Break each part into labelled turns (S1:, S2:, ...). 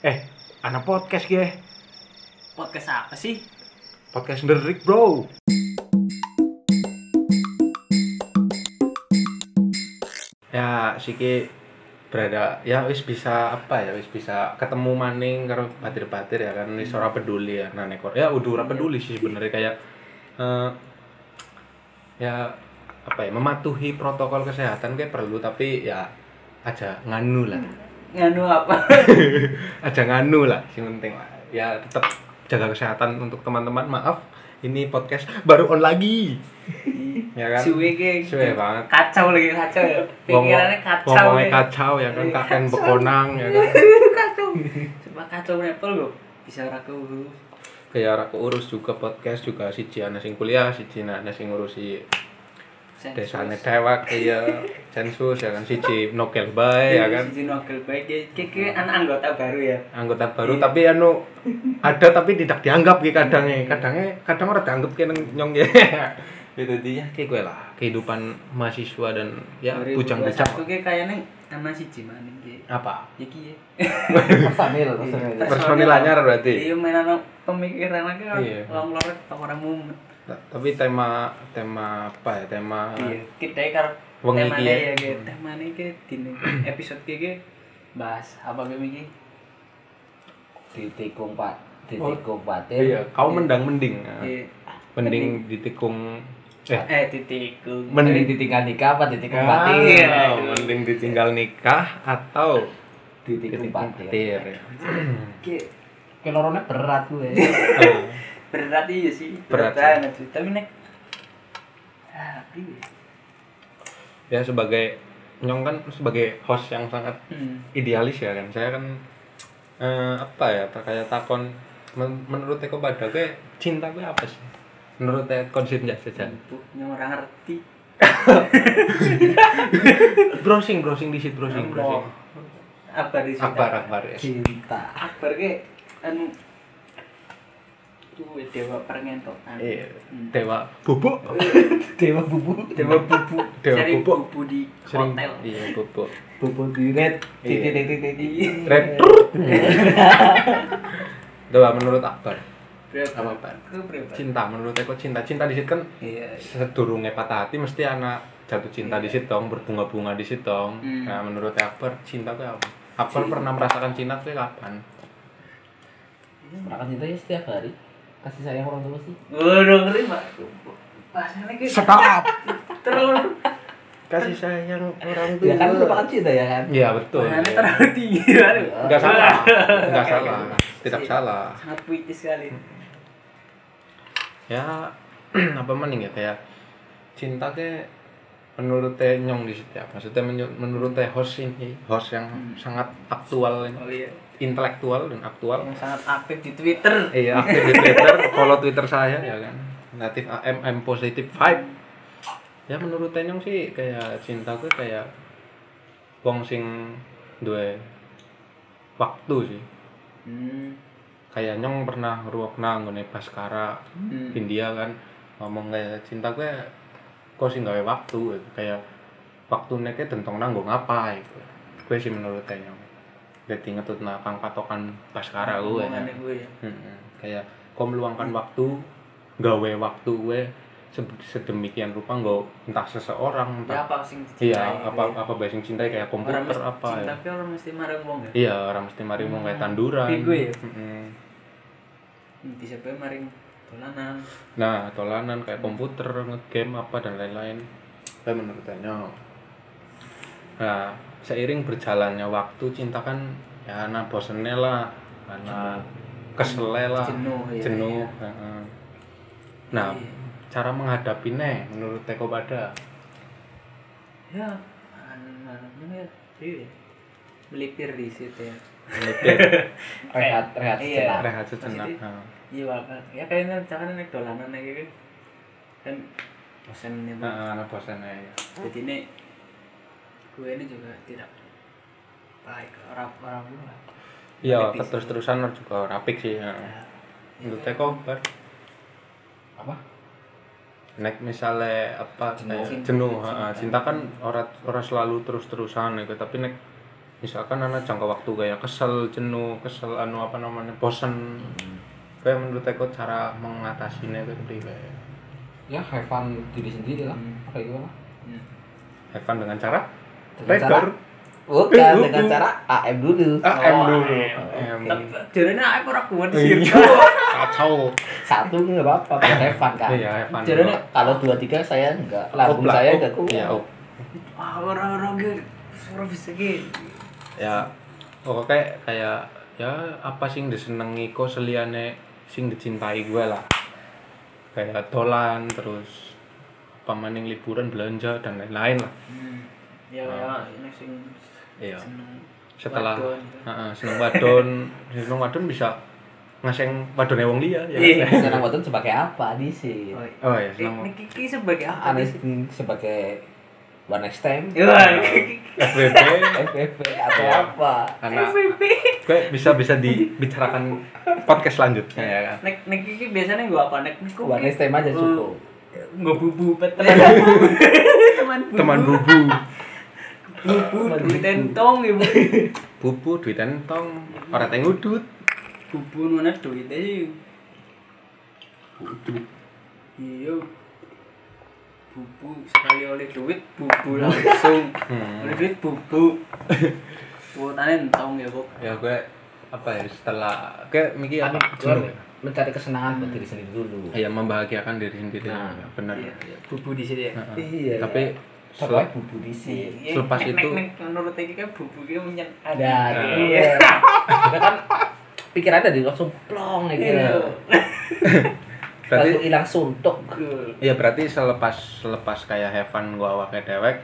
S1: Eh, anak podcast ya.
S2: podcast apa sih?
S1: Podcast Derik, Bro. Ya, Siki berada ya wis bisa apa ya wis bisa ketemu maning karo batir-batir ya kan wis ora peduli ya nah nekor ya udah ora peduli sih sebenarnya kayak eh, ya apa ya mematuhi protokol kesehatan kayak perlu tapi ya aja nganu lah
S2: Nganu apa?
S1: aja nganu anu lah sing penting lah. ya tetap jaga kesehatan untuk teman-teman maaf ini podcast baru on lagi ya kan
S2: Suwe ge.
S1: Suwe banget.
S2: Kacau lagi kacau ya. Pikirannya
S1: Ngomong-
S2: kacau.
S1: ngomongnya
S2: ya.
S1: kacau ya kan kakek bekonang ya kan
S2: kacau. Cuma kacau nepel lo. Bisa ora keuru.
S1: kayak aku urus juga podcast juga si Ciana sing kuliah si Cina ana sing ngurusi desane dewek iya sensus ya kan si Ci nokel bae ya kan
S2: Siji nokel baik ya. Kiki anak anggota baru ya.
S1: anggota baru tapi anu ada tapi tidak dianggap gitu kadangnya kadangnya kadang orang dianggap kayak neng- nyong ya itu dia kayak gue lah kehidupan mahasiswa dan ya bujang-bujang
S2: Oke kayaknya sama si Jimani ge.
S1: apa
S2: Iki ya.
S3: personil personil
S2: Personil.
S1: personil anyar berarti
S2: Iya menan pemikiran lagi kan.
S1: Iya. Ah.
S2: Wong lor tok ora mumet.
S1: Ta- Nah, tapi tema tema apa ya tema
S2: Iya, kita karo
S1: Wengi
S2: temane
S1: iki
S2: ya
S1: ya.
S2: ge. Temane ge dine episode ki ge bahas apa ge iki?
S3: ditikung pak
S1: Oh.
S3: ditikung patir
S1: iya kau mendang mending
S2: Iya.
S1: mending ditikung eh
S2: Eh titikku.
S3: mending
S1: mending
S3: ditinggal nikah apa ditikung
S1: Ah,
S3: patir
S1: mending ditinggal nikah atau
S3: ditikung
S1: ditikung
S3: patir
S1: patir ya.
S2: Ki
S3: kelorone berat gue
S1: Eh,
S2: berat iya sih.
S1: Berat sih.
S2: banget sih. Tapi nek ah piye?
S1: ya sebagai nyong kan sebagai host yang sangat
S2: Hmm.
S1: idealis ya kan saya kan eh, apa ya terkait takon men- menurut Eko pada gue cinta gue apa sih menurut Eko konsepnya saja
S2: Bukunya orang ngerti.
S1: browsing browsing di situ browsing browsing
S2: Apa? Akbar di sini.
S1: akbar akbar ya
S3: cinta
S2: Akbar ge anu tuh dewa Hmm. perengentotan.
S1: Iya. dewa bubuk
S3: dewa bubu
S2: Dewa bubu.
S1: Dewa
S2: Cari
S1: bubuk.
S2: bubu di
S1: sering
S2: hotel.
S1: iya bubuk
S3: bubu diret
S1: Iya.
S3: titik titik titik
S1: red dewa menurut akbar
S2: Berapa?
S1: Apa, Pak?
S2: Aku Iya. berapa?
S1: cinta menurut Eko cinta cinta di situ kan
S2: Iya.
S1: sedurunge patah hati mesti anak jatuh cinta di situ dong, berbunga-bunga di situ dong.
S2: Hmm.
S1: Nah, menurut Akbar cinta itu apa? Akbar pernah merasakan cinta itu kapan?
S3: merasakan cinta ya setiap hari kasih sayang orang tua sih
S2: Waduh, ngeri, Pak. Bahasanya kayak
S1: Stop.
S2: terlalu
S1: Kasih sayang orang
S3: ya kan merupakan cinta ya kan
S1: Iya, betul.
S2: Bahannya terlalu tinggi. Aduh.
S1: Enggak salah. Enggak
S2: Oke,
S1: salah.
S2: oke.
S1: Tidak salah.
S2: Sangat puitis sekali.
S1: Hmm. Ya apa mending ya kayak cinta ke menurut teh nyong di setiap maksudnya menyu- menurut teh host ini host yang sangat aktual
S2: Oh iya.
S1: intelektual dan aktual
S2: Yang sangat aktif di Twitter.
S1: Iya, aktif di Twitter, follow Twitter saya ya kan. Natif AM M positive vibe. Ya menurut Tenyong sih kayak cintaku kayak wong sing duwe waktu sih.
S2: Hmm.
S1: Kayak Nyong pernah ngeruwakna nggone Baskara
S2: Hmm.
S1: India kan ngomong kayak cinta gue kok sih gawe waktu gitu. kayak waktu neke tentang nanggung apa gitu. Gue sih menurut Tenyong. Jadi ngetutna kang patokan Baskara gue. ya.
S2: Omongannya gue ya.
S1: Mm-mm. kayak kau meluangkan waktu gawe waktu gue se- sedemikian rupa nggak entah seseorang
S2: Ya
S1: entah
S2: apa sing dicintai
S1: iya
S2: gitu
S1: apa
S2: ya.
S1: apa bahasa yang cintai kayak komputer
S2: Orang mesti
S1: apa
S2: Cinta
S1: ya.
S2: tapi orang mesti marah wong ya.
S1: iya orang mesti mari mau kayak tanduran
S2: Kayak gue ya?
S1: Mm-mm.
S2: Hmm, Bisa bae maring dolanan.
S1: nah tolanan kayak komputer ngegame apa dan lain-lain saya menurut Daniel nah seiring berjalannya waktu cinta kan ya anak bosennya lah anak keselnya lah
S2: Jenuh ya.
S1: jenuh heeh. nah
S2: Iya.
S1: cara menghadapinya menurut Teko pada
S2: Ya, anu-anunya ya. Melipir di situ ya.
S3: rehat rehat
S2: Iya.
S3: sejenak
S1: rehat sejenak
S2: Maksudnya?
S1: Heeh.
S2: Iya, Pak. Ya kayaknya jangan nek dolanan nek iki. Kan bosan nih, Pak.
S1: Heeh, anak bosannya ya
S2: Jadi ini gue ini juga tidak baik orang orang gue lah.
S1: iya
S2: Tipis.
S1: terus terusan juga rapik sih heeh. menurut Teko bar
S3: apa
S1: nek misalnya apa
S3: Jenuh.
S1: kayak jenuh heeh. cinta kan orang orang selalu terus terusan gitu tapi nek misalkan anak jangka waktu kayak kesel jenuh kesel anu apa namanya bosen kayak menurut aku cara mengatasinya itu seperti kayak
S3: ya have fun diri sendiri lah
S2: Hmm.
S3: apa gimana
S2: Hmm.
S1: have fun dengan cara
S3: Dengan cara-
S1: Rekor.
S3: bukan
S1: Eh,
S3: dengan
S1: buku.
S3: cara AM dulu
S1: AM
S2: Oh,
S1: Ah, dulu
S2: AM.
S1: AM
S2: Jarene aku ora kuat sih.
S1: Iya. kacau
S3: satu nggak apa-apa biar have fun kan
S1: iya have fun
S2: Jarene
S3: kalau dua tiga saya enggak lambung
S1: Oblak,
S3: saya
S1: op.
S3: enggak kuat
S1: Iya, op.
S2: Wah, ora-ora ge ora bisa ge.
S1: ya pokoknya kayak kayak ya apa sing disenengi kok seliane sing dicintai gue lah kayak dolan terus pamaning liburan belanja dan lain-lain lah
S2: Hmm. Ya ya ini sing
S1: Iya.
S2: seneng
S1: setelah
S2: wadon.
S1: Heeh, seneng wadon Ya, seneng wadon bisa ngaseng wadone wong liya ya
S2: Iya.
S3: senang waktu sebagai apa di sini
S2: Oh,
S1: oh ya
S2: Eh,
S1: seneng
S2: Niki Kiki sebagai apa
S3: aneh
S2: sih?
S3: sebagai one next time
S2: Ya, Niki Kiki.
S1: FBB
S3: FFP atau
S1: Iya.
S3: apa
S1: anak
S2: FVP.
S1: gue bisa bisa dibicarakan podcast selanjutnya ya kan
S2: Nek nek iki biasanya gua apa nek niku
S3: one next time aja cukup
S2: gua bubu pet teman bubu. Teman bubu.
S1: teman bubu
S2: bubu duit entong ibu.
S1: bubu duit entong orang tengudut udut
S2: Bubu mana duitnya sih? Iya. Bubu sekali oleh duit bubu langsung.
S1: Hmm.
S2: Oleh duit bubu. Kuotanya entong ya, Bu.
S1: ya gue apa ya setelah kayak mikir apa jenuh
S3: Cuman mencari kesenangan buat diri sendiri dulu
S1: ya membahagiakan diri sendiri Ya,
S3: Nah,
S1: benar
S2: Iya, iya. Bubu di sini ya.
S3: iya
S1: tapi
S3: setelah
S1: setelah
S3: bubu di sini
S2: Iya,
S1: Hmm. Selepas
S2: nek-
S1: itu-
S2: nek- nek menurut Eki kan bubu itu menyen
S3: ada
S1: Nah.
S3: tuh. Kita Iya. kan pikiran ada di langsung plong ya gitu
S2: Iya.
S1: berarti
S3: langsung hilang suntuk
S2: Ke-
S1: ya berarti selepas selepas kayak Heaven gue awake dewek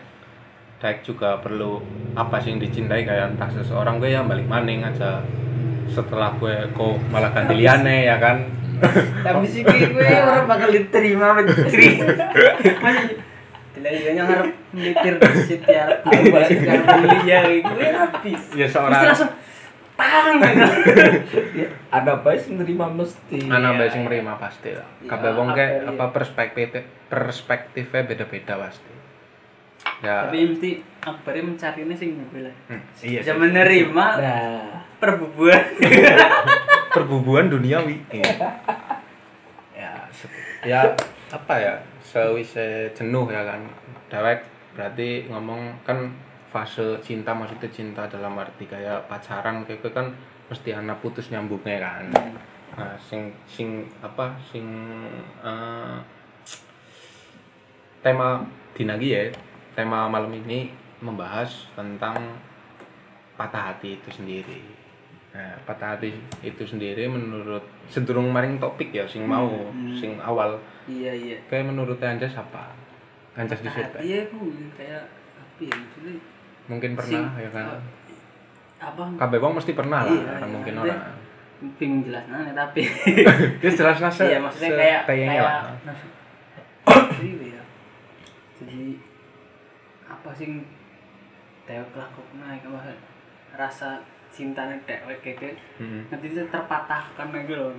S1: Daek juga perlu apa sih yang dicintai kayak entah seseorang gue ya balik maning aja setelah gue kok malah ganti liane ya kan
S2: Tapi sih kayak gue orang bakal diterima menteri. Masih Tidak iya ngarep mikir shit ya. Aku balik ke beli ya gue habis.
S1: ya
S2: Terus
S1: seorang
S2: langsung tang.
S3: ya, ada apa sih menerima
S1: Iya.
S3: mesti
S1: anak mbak sing merima pasti lah
S2: Iya,
S1: kabeh wong
S2: apa
S1: kayak
S2: iya.
S1: apa perspektif perspektifnya beda-beda pasti ya
S2: Tapi mesti akbarnya mencari ini sih gue lah.
S1: Hmm, iya
S2: Bisa
S1: sih.
S2: menerima
S3: nah
S2: perbubuhan.
S1: perbubuhan duniawi ya se- ya apa ya sewise jenuh ya kan dewek berarti ngomong kan fase cinta maksudnya cinta dalam arti kayak pacaran kayak gitu kan mesti anak putus nyambungnya kan nah sing sing apa sing eh, tema dinagi ya tema malam ini membahas tentang patah hati itu sendiri nah patah hati itu sendiri menurut sedurung maring topik ya sing mau
S2: Hmm.
S1: sing awal
S2: Iya iya.
S1: kayak menurut Anjas apa Anjas di
S2: Nah,
S1: survei
S2: Iya gue kayak apa ya maksudnya
S1: mungkin pernah
S2: sing-
S1: ya kan
S2: eh, apa
S1: kabeh wong mesti pernah lah kan,
S2: Iya, iya,
S1: mungkin
S2: iya.
S1: orang
S2: bingung jelasnya tapi
S1: terus jelas nase
S2: iya maksudnya kayak
S1: kayaknya
S2: kayak
S1: lah
S2: Jadi, ya. jadi apa sih dewek lakukan ya maksud rasa cintanya dewek kayak gitu.
S1: Mm-mm.
S2: nanti itu terpatahkan lagi loh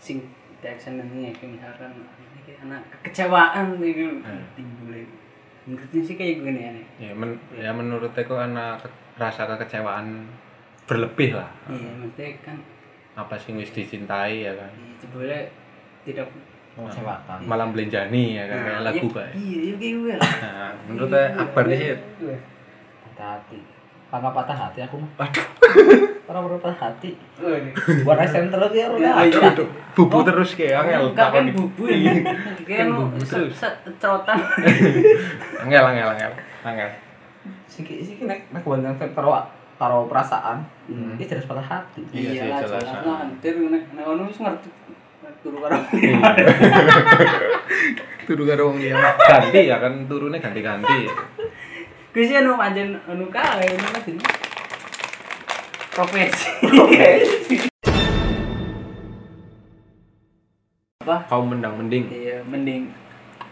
S2: sing dewek senengnya kayak misalkan ini kayak anak kekecewaan gitu
S1: Hmm.
S2: timbulnya menurutnya sih kayak gini ya nih
S1: ya, men ya menurut aku anak ke- rasa kekecewaan berlebih lah
S2: iya
S1: Hmm.
S2: maksudnya kan
S1: apa sih yang wis dicintai ya kan
S2: iya, jebule tidak
S3: mengecewakan
S1: malam belenjani ya kan kayak lagu
S2: Iya,
S1: kayak
S2: iya iya kayak Iya, gue lah
S1: nah menurut aku akbar nih sih
S2: Iya.
S3: patah hati karena patah hati aku mah
S1: Waduh.
S3: karena baru patah hati
S2: Oh, ini.
S3: buat SM terus ya udah
S2: Iya, iya.
S1: Aduh, Oh. bubu terus kayak angel
S2: Enggak kan
S1: takoni.
S2: bubu ya.
S1: Kan
S2: Kan
S1: bubu terus.
S2: Cerotan.
S1: angel angel angel angel
S3: siki siki nek nek buat SM karo karo perasaan
S2: Hmm.
S3: ini jelas patah hati
S1: Iya sih,
S2: lah,
S1: jelas.
S2: jelas lah. Hampir nek nek ono wis ngerti. Turu karo.
S1: turu karo wong liya ganti ya kan turunnya ganti-ganti
S2: Kuwi sih anu pancen anu kae anu mah jadi profesi.
S1: kau mendang mending
S2: Iya, mending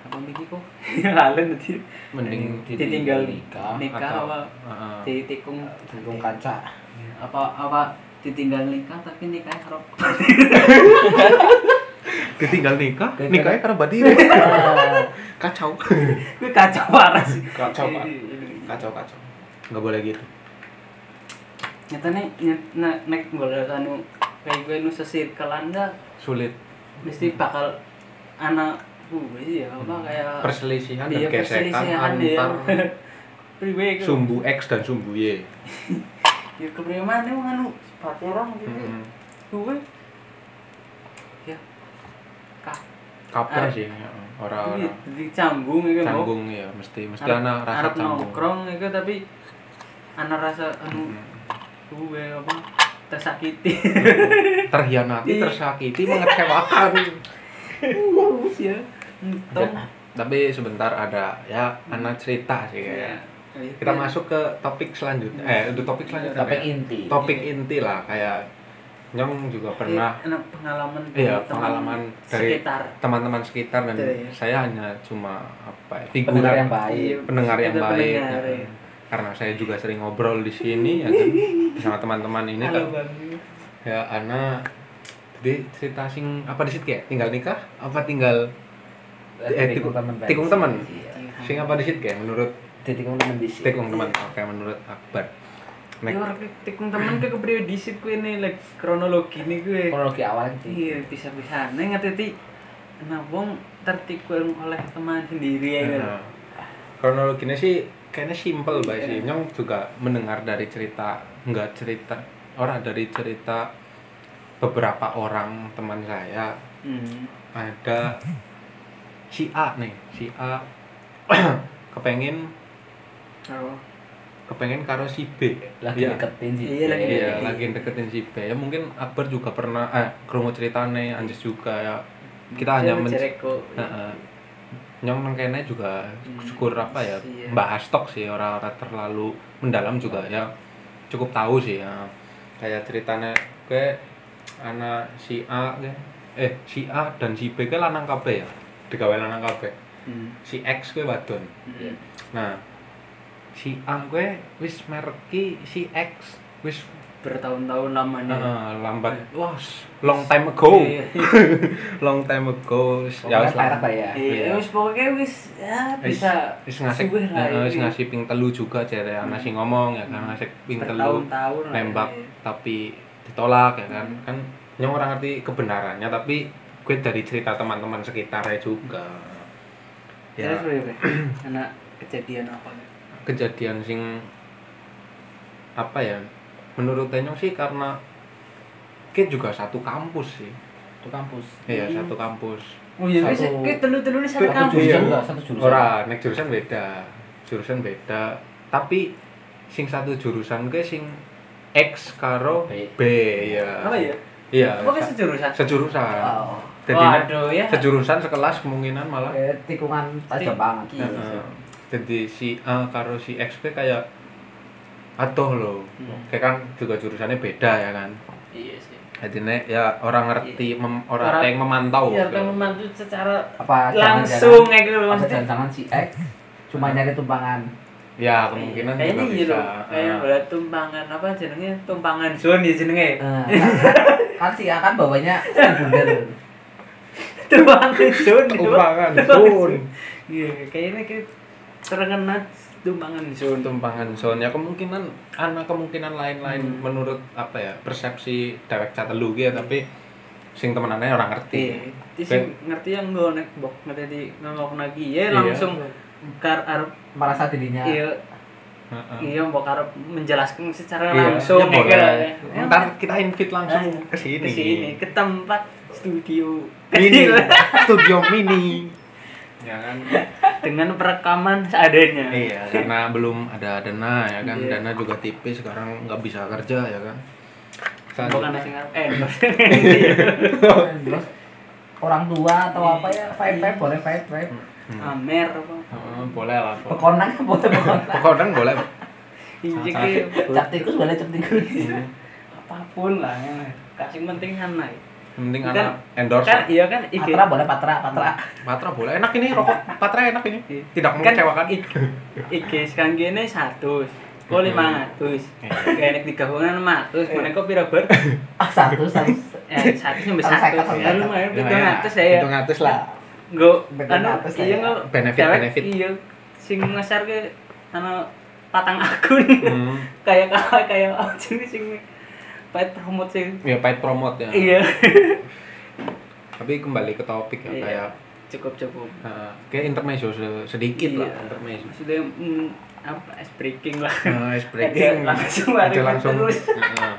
S2: apa miki kok lalen tadi
S1: mending
S2: ditinggal
S3: nikah
S2: nikah
S1: atau-
S2: apa
S1: Heeh.
S2: ditikung
S3: tikung kaca
S2: apa apa ditinggal nikah tapi nikah karo
S1: ditinggal nikah
S3: Ditinggal-
S1: nikahnya karena badi kacau
S2: gue kacau parah sih
S1: Kacau parah.
S2: Ini- ini- ini.
S1: kacau kacau nggak boleh gitu
S2: nyatane nyet- na- nek golek anu kayak gue nu sesirkelan dah
S1: sulit
S2: mesti
S1: Hmm.
S2: bakal anak gue sih ya apa kayak
S1: perselisihan dan
S2: Iya,
S1: gesekan
S2: perselisihan, iya.
S1: antar
S2: priwe itu
S1: sumbu X dan sumbu Y.
S2: ya kepriman emang anu pacaran gitu
S1: Mm-mm.
S2: gue ya kah
S1: Kaper
S2: Ah.
S1: sih ya, eh, orang-orang
S2: jadi canggung gitu Mbok.
S1: canggung ya mesti mesti
S2: Arep-
S1: anak rasa
S2: arep
S1: canggung.
S2: nongkrong itu tapi anak rasa
S1: Hmm.
S2: anu gue apa tersakiti
S1: Terhianati,
S2: Iya.
S1: tersakiti, mengecewakan.
S2: Bagus ya
S1: Ya,
S2: entong
S1: tapi sebentar ada ya anak cerita
S2: Iya.
S1: sih kayak. Iya. Kita masuk ke topik selanjutnya. Eh, untuk topik
S2: Iya,
S1: selanjutnya.
S3: Topik
S1: ya.
S3: inti.
S1: Topik inti lah kayak Nyong juga pernah
S2: anak Iya, pengalaman
S1: Iya,
S2: teman
S1: pengalaman dari
S2: sekitar
S1: teman-teman sekitar dan
S2: Betul, ya.
S1: saya hanya cuma apa ya,
S3: Pendengar
S1: figuran
S3: yang baik.
S1: pendengar yang
S2: Kita
S1: baik
S2: Iya, pendengar,
S1: ya.
S2: iya.
S1: karena saya juga sering ngobrol di sini ya kan sama teman-teman ini
S2: halo
S1: kan
S2: bang Iya,
S1: ya Ana jadi cerita sing apa di situ ya tinggal nikah apa tinggal eh, tikung teman tikung teman
S2: Iya.
S1: sing apa di situ ya menurut
S3: tikung teman di sini
S1: tikung teman oke menurut Akbar Nek,
S2: Yo arek tikung temen ke kepriwe disit kuwi nih like kronologi nih gue.
S3: kronologi awal itu
S2: Iya, bisa-bisa. Nih ngerti Nah, wong tertikung oleh teman sendiri ya kan.
S1: Nah, kronologinya sih kayaknya simple bae sih.
S2: Iya.
S1: Nyong juga mendengar dari cerita nggak cerita orang dari cerita beberapa orang teman saya
S2: Hmm.
S1: ada si A nih si A kepengen
S2: Oh.
S1: kepengen karo si B
S3: lagi
S1: Ya.
S3: deketin sih
S2: Iya, lagi
S1: Iya,
S2: deketin.
S1: lagi deketin si B. Ya mungkin Akbar juga pernah eh krungu ceritane Anjes juga ya. Kita hanya men-
S2: mencereko.
S1: Heeh. Nyong nang kene juga
S2: Hmm.
S1: syukur apa ya
S2: Iya.
S1: bahas stok sih orang-orang terlalu mendalam juga ya cukup tahu sih ya. kayak ceritanya kayak anak si A kayak eh si A dan si B kayak lanang kabeh ya digawe lanang kabeh
S2: Hmm.
S1: si X kayak wadon
S2: Iya.
S1: nah si A gue wis mereki si X wis
S2: Bertahun-tahun lamanya.
S1: eh, lambat wah long time ago
S2: Hmm. Iya.
S1: long time ago
S3: ya wis lah ya
S1: Iya.
S2: Iya, wis pokoknya wis ya
S1: Wis-
S2: bisa
S1: wis ngasih
S2: suwe lah iya.
S1: eh, wis
S2: ini.
S1: ngasih ping telu juga jare ana sing ngomong ya kan ngasih ping telu
S2: Bertahun-tahun lah,
S1: nembak
S2: iya.
S1: tapi ditolak ya kan kan nyong ora ngerti kebenarannya tapi gue dari cerita teman-teman sekitarnya juga ya
S2: Terus piye, Bre? Anak kejadian apa? ya?
S1: kejadian sing apa ya menurut Tenyong sih karena kita juga satu kampus sih
S3: itu kampus
S1: iya satu kampus
S2: Oh iya, wis
S3: Satu-
S2: kuwi telu-telu ini satu
S3: Satu
S2: kampus.
S3: jurusan
S1: Iya.
S3: enggak? Satu jurusan?
S1: Ora, nek jurusan beda. Jurusan beda. Tapi sing satu jurusan ke sing X karo
S3: B.
S1: B, ya.
S2: Apa ya?
S1: Iya.
S2: Pokoknya
S1: sa-
S2: sejurusan.
S1: sejurusan.
S3: Oh.
S1: Jadi nek
S2: Waduh ya.
S1: sejurusan sekelas kemungkinan malah.
S3: Kayak Eh, tikungan
S2: Tik-
S3: tajam banget
S2: iya.
S1: Heeh. Jadi si A karo si X ke kayak atuh loh.
S3: Hmm.
S1: Kayak kan juga jurusannya beda ya kan.
S2: Iya sih.
S1: Jadi nek ya orang
S3: Iya.
S1: ngerti mem, orang
S2: Orang-
S1: yang memantau.
S2: Iya,
S1: gitu.
S2: kan membantu secara
S3: apa
S2: langsung
S3: jangan-jangan-
S2: kayak gitu loh
S3: apa
S2: maksudnya.
S3: jangan-jangan si X cuma nyari tumpangan
S1: Ya kemungkinan juga
S2: Kayaknya iya
S1: bisa. Ah.
S2: loh. Kayak
S1: Heeh.
S2: bola tumpangan apa jenenge? Tumpangan zone ya jenenge.
S3: Eh, kan si A kan bawanya bundel
S2: Tumpangan zone. ya.
S1: Tumpangan
S2: Tumpangan
S1: zone.
S2: zone. Iya, kayaknya kayak terkena tumpangan zone.
S1: tumpangan sound ya kemungkinan ana kemungkinan lain-lain
S2: Hmm.
S1: menurut apa ya persepsi dewek catelu gitu ya, tapi sing temenannya orang
S2: Iya,
S1: ngerti
S2: itu sih ngerti yang gue nek bok ngerti di ngomong lagi
S1: Iya.
S2: ya langsung kar arep
S3: merasa dirinya
S2: iya
S1: Ya. Heeh.
S2: iya mbok arep menjelaskan secara
S1: Iya, ya
S2: langsung ya,
S1: boleh.
S2: kan? Ya,
S1: ntar kita invite langsung
S2: Nah,
S1: ke sini
S2: ke sini ke tempat studio
S1: mini
S2: kecil
S1: studio mini ya kan
S2: dengan perekaman seadanya
S1: iya karena belum ada dana ya kan
S2: Iya.
S1: dana juga tipis sekarang nggak bisa kerja ya kan
S2: bukan nasi ngarep eh
S3: terus orang tua atau apa ya vibe vibe boleh vibe vibe
S1: Hmm.
S2: amer apa
S1: Heeh, boleh lah pokok
S3: pekonang kan boleh pekonang
S1: pekodang boleh
S2: injek
S1: Sama-sama.
S2: ya,
S3: cap tikus boleh cap tikus
S2: Iya. apapun lah ya. kasih penting sana ya.
S1: Yang penting
S2: Kan-
S1: anak endorse
S2: kan iya kan IG
S3: patra boleh patra patra
S1: Patra boleh enak ini rokok Patra enak ini tidak
S2: Iya. kan
S1: mengecewakan
S2: I- IG sekarang kan gini satu kok lima ratus kayak di gabungan empat ratus mana kok pira ber
S3: ah satu satu
S2: ya satu sampai satu
S3: Satu, satu,
S2: ya
S3: satu.
S2: lumayan
S1: Ya,
S2: pitung
S1: ya.
S2: ratus ya
S1: Pitung ratus lah.
S2: Nggo
S3: Benefit
S2: anu
S3: atas lah
S2: iya
S3: ya.
S2: nggo iya,
S1: Benefit,
S2: cewek,
S1: benefit.
S2: Iya sing ngeser ke anu patang akun
S1: Hmm.
S2: kayak kayak kayak anjing sing pahit promote sih
S1: Ya pahit promote ya.
S2: iya
S1: Tapi kembali ke topik ya
S2: Iya.
S1: kayak
S2: cukup cukup
S1: eh, kayak intermezzo se- sedikit lah
S2: Iya.
S1: intermezzo.
S2: maksudnya mm, apa ice breaking lah
S1: Nah, ice breaking
S2: Ada Iya, langsung
S1: ada
S2: lari
S1: langsung.
S2: terus.
S1: Heeh.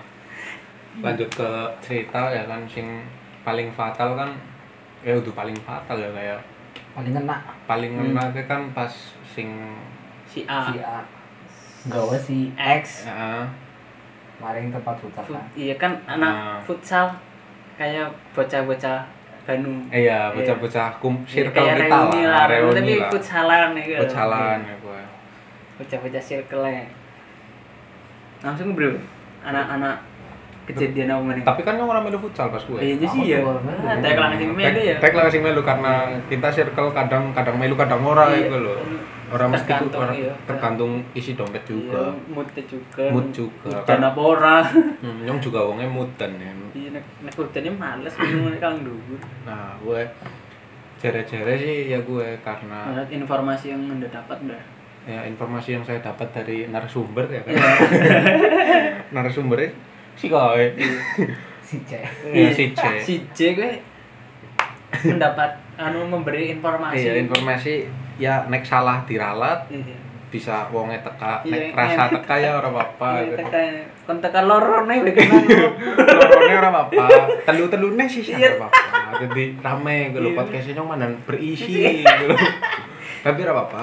S1: lanjut ke cerita ya kan sing paling fatal kan ya udah paling fatal ya kayak
S3: paling kena
S1: paling
S2: Hmm.
S1: ngena itu kan pas sing
S2: si A
S3: si A gawe si X
S1: heeh.
S3: maring tempat hutan
S2: Fu-
S3: kan
S2: iya kan anak
S1: Nah.
S2: futsal kayak bocah-bocah Bandung
S1: Eh, iya bocah-bocah kum
S2: Iya,
S1: circle
S2: kayak
S1: kita
S2: reuni
S1: lah
S2: tapi
S1: reuni lah
S2: futsalan ya kan. Iya,
S1: bocalan ya gue
S2: bocah-bocah circle langsung bro anak-anak kejadian apa nih
S1: tapi kan yang orang melu futsal pas gue
S2: kayaknya sih ya
S3: Aku juga nggak
S2: ada kelangan sing mede ya
S1: Tek lah sing melu karena kita circle kadang kadang melu kadang ora
S2: Iya.
S1: itu loh. Orang mesti ku-
S2: Tergantung,
S1: orang-
S2: iya.
S1: tergantung isi dompet juga.
S2: juga Iya, moodnya juga
S1: Mood juga.
S2: udan apa ora
S1: Hmm, yang juga wongnya mudan ya.
S2: iya nek nek udannya males bingung nek kang dhuwur
S1: Nah, gue jere-jere sih ya gue karena
S2: Menurut informasi yang anda dapat dah
S1: ya informasi yang saya dapat dari narasumber ya kan.
S2: Iya.
S1: Narasumbernya si kowe.
S3: si C
S1: Iya, si C.
S2: si J gue mendapat anu memberi informasi
S1: Iya, informasi ya nek salah diralat
S2: Iya.
S1: bisa wonge teka,
S2: Iya,
S1: nek rasa
S2: iya.
S1: teka ya ora apa-apa.
S2: Iya, tekan kon tekan lorone wae kena lu.
S1: Lorone ora apa-apa. Telu-telune sih sih
S2: Iya.
S1: ora apa-apa. Jadi rame gue lho
S2: Iya.
S1: podcastnya nyoman dan berisi gitu lho. Tapi ora apa-apa.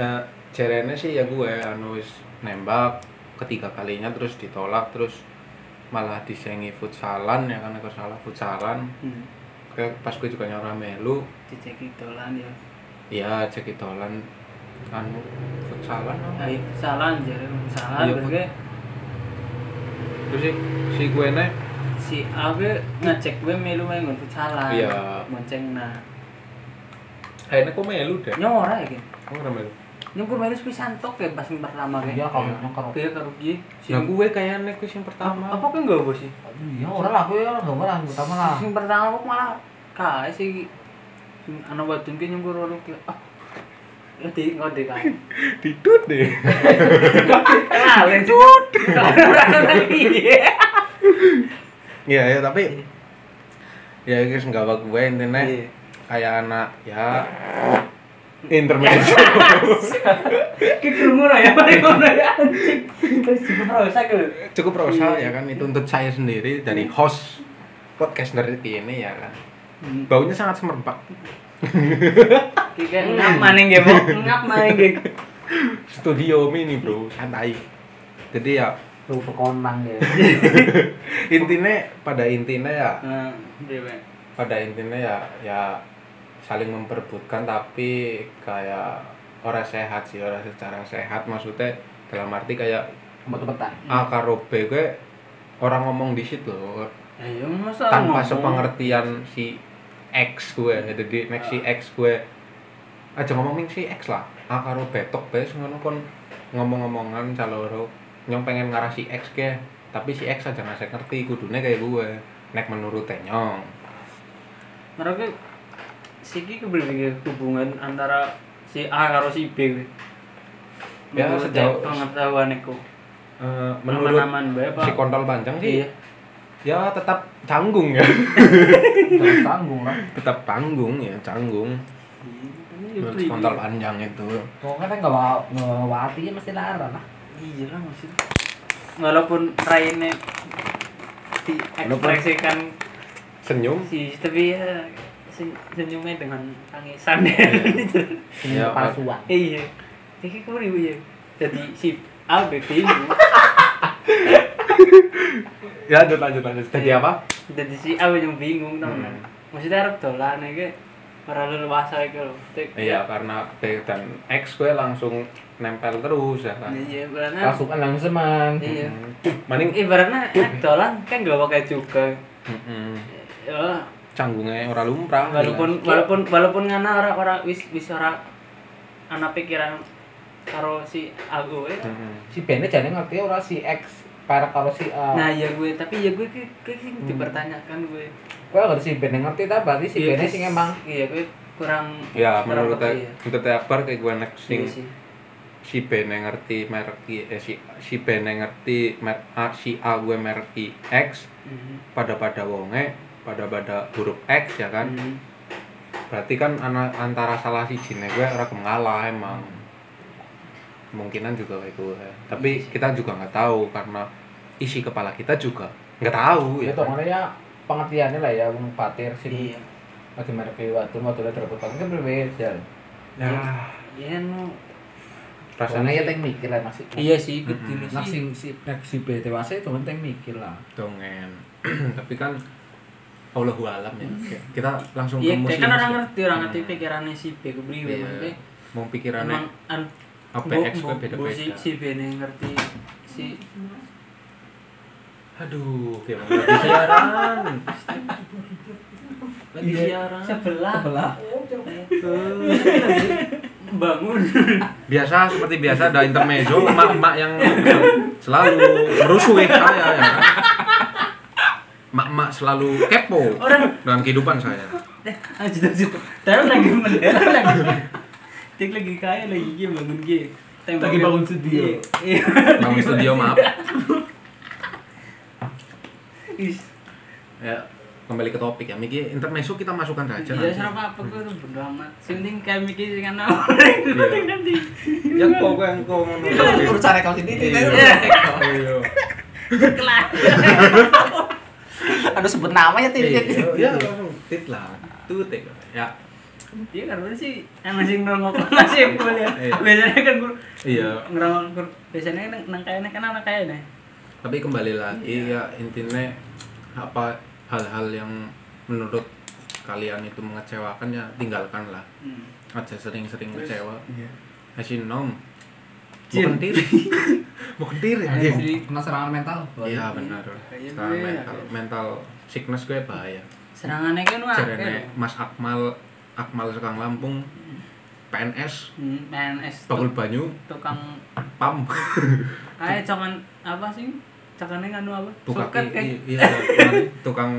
S1: Eh jarene sih ya gue anu wis nembak ketiga kalinya terus ditolak terus malah disengi futsalan ya kan kalau salah futsalan
S2: Hmm,
S1: Kayak pas gue juga nyora melu
S2: dijeki dolan ya.
S1: ya cek dolan anu futsalan apa?
S2: Ayo salah jare salah
S1: Iya,
S2: gue
S1: terus sih si gue nek
S2: si A gue ngecek gue melu wae nggon salah.
S1: Iya.
S2: Monceng nah.
S1: akhirnya kok melu deh
S2: Nyora iki.
S1: kamu ora melu
S2: Nyukur melu pisan tok ya pas yang pertama gue.
S3: iya kamu nyokor
S2: Gue karo piye? Si
S1: nah gue kayaknya gue yang pertama
S2: apa gue enggak bos sih?
S3: iya orang lah aku ya gak malah utama lah
S2: Sing pertama kok malah kae sih sing ana wadon ki nyungkur ngono ki. Ah. Ya di ngode kae.
S1: Didut deh.
S2: Kalen cut. Kalen piye?
S1: Iya ya tapi ya guys nggak apa gue intinya
S2: Iya.
S1: kayak anak ya intermezzo
S2: Kekrungu ya, paling ngono ya anjing. Terus ya, diprosak lho.
S1: cukup rosa ya kan itu untuk saya sendiri dari host podcast nerd ini ya kan baunya sangat semerbak
S2: Ki kayak ngap maning ya, nggih, Bo. Hmm. Ngap maning ya. nggih.
S1: studio mini bro santai jadi ya
S3: tuh pekonang ya
S1: intinya pada intinya ya
S2: Nah, dewe.
S1: pada intinya ya ya saling memperebutkan tapi kayak orang sehat sih orang secara sehat maksudnya dalam arti kayak
S3: cepet-cepetan
S1: A karo B gue orang ngomong di situ loh
S2: Ayo ya masa
S1: tanpa
S2: ngomong.
S1: sepengertian si X gue jadi nek si X gue aja ngomongin si X lah A karo B tok B sing ngono kon ngomong-ngomongan caloro nyong pengen ngarah si X ke tapi si X aja ngasih ngerti kudune kayak gue nek menurut e nyong
S2: Mereka siki keberbeda hubungan antara si A karo si B. kuwi.
S1: Ya,
S2: Menurut
S1: sejauh-
S2: pengetahuan aku.
S1: Eh, menurut
S2: Aman-aman bae, Pak.
S1: si kontol panjang sih
S2: Iya.
S1: ya tetap canggung ya
S3: Jangan tanggung lah
S1: tetap canggung ya canggung menurut si kontol panjang itu
S3: pokoknya kan gak mau ngewati mesti larang lah
S2: Iya lah maksudnya. Walaupun Raine diekspresikan
S1: senyum
S2: sih, tapi ya sen- senyumnya dengan tangisan.
S3: ini
S1: Ya,
S3: palsuan
S2: Iya. Jadi kamu ribu ya. Jadi si A B B
S1: ya lanjut lanjut lanjut jadi
S2: Iya.
S1: apa
S2: jadi si A yang bingung tau kan.
S1: Hmm.
S2: Maksudnya Arab dolan ya para leluasa itu loh. Tek-
S1: Iya, karena B dan X gue langsung nempel terus ya kan.
S2: Iya, karena
S3: palsuan langsung man
S2: iya.
S1: Hmm. Mending
S2: Ibaratnya eh, dolan kan gak pakai juga.
S1: Mm-mm.
S2: Ya,
S1: canggungnya ora lumrah.
S2: walaupun walaupun walaupun ngana ora ora wis wis ora ana pikiran karo si aku ya.
S1: jelas. Mm-mm.
S3: si Bene jadi ngerti orang si X para kalau si A
S2: Nah ya gue tapi ya gue ki- ki- ki dipertanyakan gue.
S3: gue nggak si Bene ngerti tak berarti si
S2: Iya,
S3: Bene
S2: gue-
S3: sih emang
S2: Iya gue kurang
S1: Ya
S2: kurang
S1: menurut
S2: peka, iya.
S1: menurut Akbar kayak gue nek sing
S2: Iya sih.
S1: si B neng ngerti merek I eh, si si B neng ngerti merek A si A gue merek I X
S2: Mhm.
S1: pada pada wonge pada pada huruf X ya kan
S2: Mhm.
S1: berarti kan ana- antara salah si jine gue orang mengalah emang kemungkinan juga kayak gue
S2: Iya
S1: tapi kita juga nggak tahu karena isi kepala kita juga nggak tahu ya
S2: Iya
S4: itu
S1: kan?
S4: makanya pengertiannya lah ya wong patir sih
S5: iya
S4: lagi merek watu mau tuh terlalu kan kan berbeda
S1: Nah,
S2: Iya no.
S1: rasanya
S4: rasanya ya teng mikir lah masih
S2: Iya sih ikut dulu
S3: Nah,
S2: sih.
S3: sing si nek si B tewas itu penting mikir lah.
S1: dongen gitu, tapi kan Allah alam ya Kayak kita langsung ke
S2: Iya, kayak
S1: muslim
S2: kan orang
S1: sih.
S2: ngerti, orang ngerti
S1: Hmm.
S2: pikirannya si B gue beli
S1: Iya.
S2: maksudnya.
S1: mau pikirannya
S2: Emang an
S1: apa
S2: bo-
S1: X
S2: bo-
S1: gue beda
S2: bo- Si
S1: beda
S2: si B nih ngerti si
S1: aduh kayak mau lagi siaran lagi siaran
S2: sebelah
S3: Sebelah.
S2: bangun.
S1: biasa seperti biasa ada intermezzo emak-emak yang selalu merusuhi saya ya kan? emak-emak selalu kepo
S2: Orang
S1: dalam kehidupan saya
S2: lanjut lanjut. Taruh lagi mendarat lagi. Tik lagi kaya lagi dia bangun dia. Tembak
S3: Lagi bangun studio.
S2: Iya.
S1: bangun studio maaf
S2: Is.
S1: ya kembali ke topik ya Miki intermezzo kita masukkan saja
S2: Iya,
S1: nanti.
S2: serap apa gue tuh bodo amat. Sing penting kayak mikir kan
S1: Iya.
S2: nanti.
S1: yang kau yang kau ngono
S3: Urusan kalau sendiri itu
S1: Iya.
S2: Kelar.
S3: Aduh sebut namanya titik.
S1: Iya, langsung tit lah. Tutik. Ya.
S2: Iya karena sih emang sing nongol masih full ya.
S1: Iya.
S2: Biasanya kan gue
S1: Iya.
S2: ngerongol biasanya nang nang kayaknya kan anak kayaknya.
S1: Tapi kembali lagi ya intinya apa hal-hal yang menurut kalian itu mengecewakan ya tinggalkan lah.
S2: Hmm.
S1: Aja sering-sering kecewa.
S5: iya.
S1: Hasin nom.
S2: Jin.
S1: Bukan diri. Bukan diri
S3: Jadi
S1: anjing.
S3: kena serangan mental.
S1: Iya benar.
S2: Kayaknya
S1: Sekarang
S2: gue-
S1: mental, mental sickness gue bahaya.
S2: Serangannya kan wah.
S1: Jarene Mas Akmal Akmal Sekang Lampung PNS
S2: Hmm, PNS
S1: Bakul Banyu
S2: tukang
S1: Pam
S2: kayak cuman apa sih? Cakane kan apa?
S1: tukang
S2: Suket kan. Iya.
S1: i- i- iya, tukang, tukang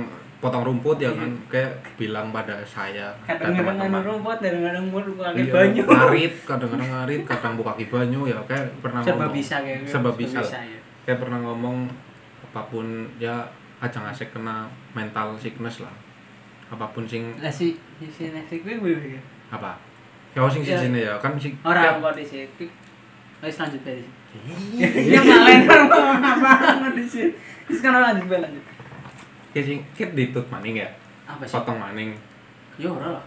S1: potong rumput ya kan kayak bilang pada saya dan
S2: Kadang-kadang nganu
S1: teman-teman.
S2: robot, kadang-kadang gue buka
S1: Iya,
S2: banyu.
S1: ngarit kadang-kadang ngarit kadang buka ki banyu ya kayak pernah
S2: Serba
S1: ngomong
S2: bisa kayak gitu.
S1: serba bisa,
S2: ya.
S1: kayak pernah ngomong apapun ya aja ngasih kena mental sickness lah apapun sing
S2: Lah si si- si next gue gue.
S1: apa ya sing
S2: Ya.
S1: sini ya kan sing
S2: Orang apa di situ? Wis lanjut dari sini.
S1: ya,
S2: Iya malah orang apa di sini. Terus kan lanjut balik lanjut.
S1: ya sing kit ditut maning ya
S2: Apa sih?
S1: potong maning
S2: Ya ora lah.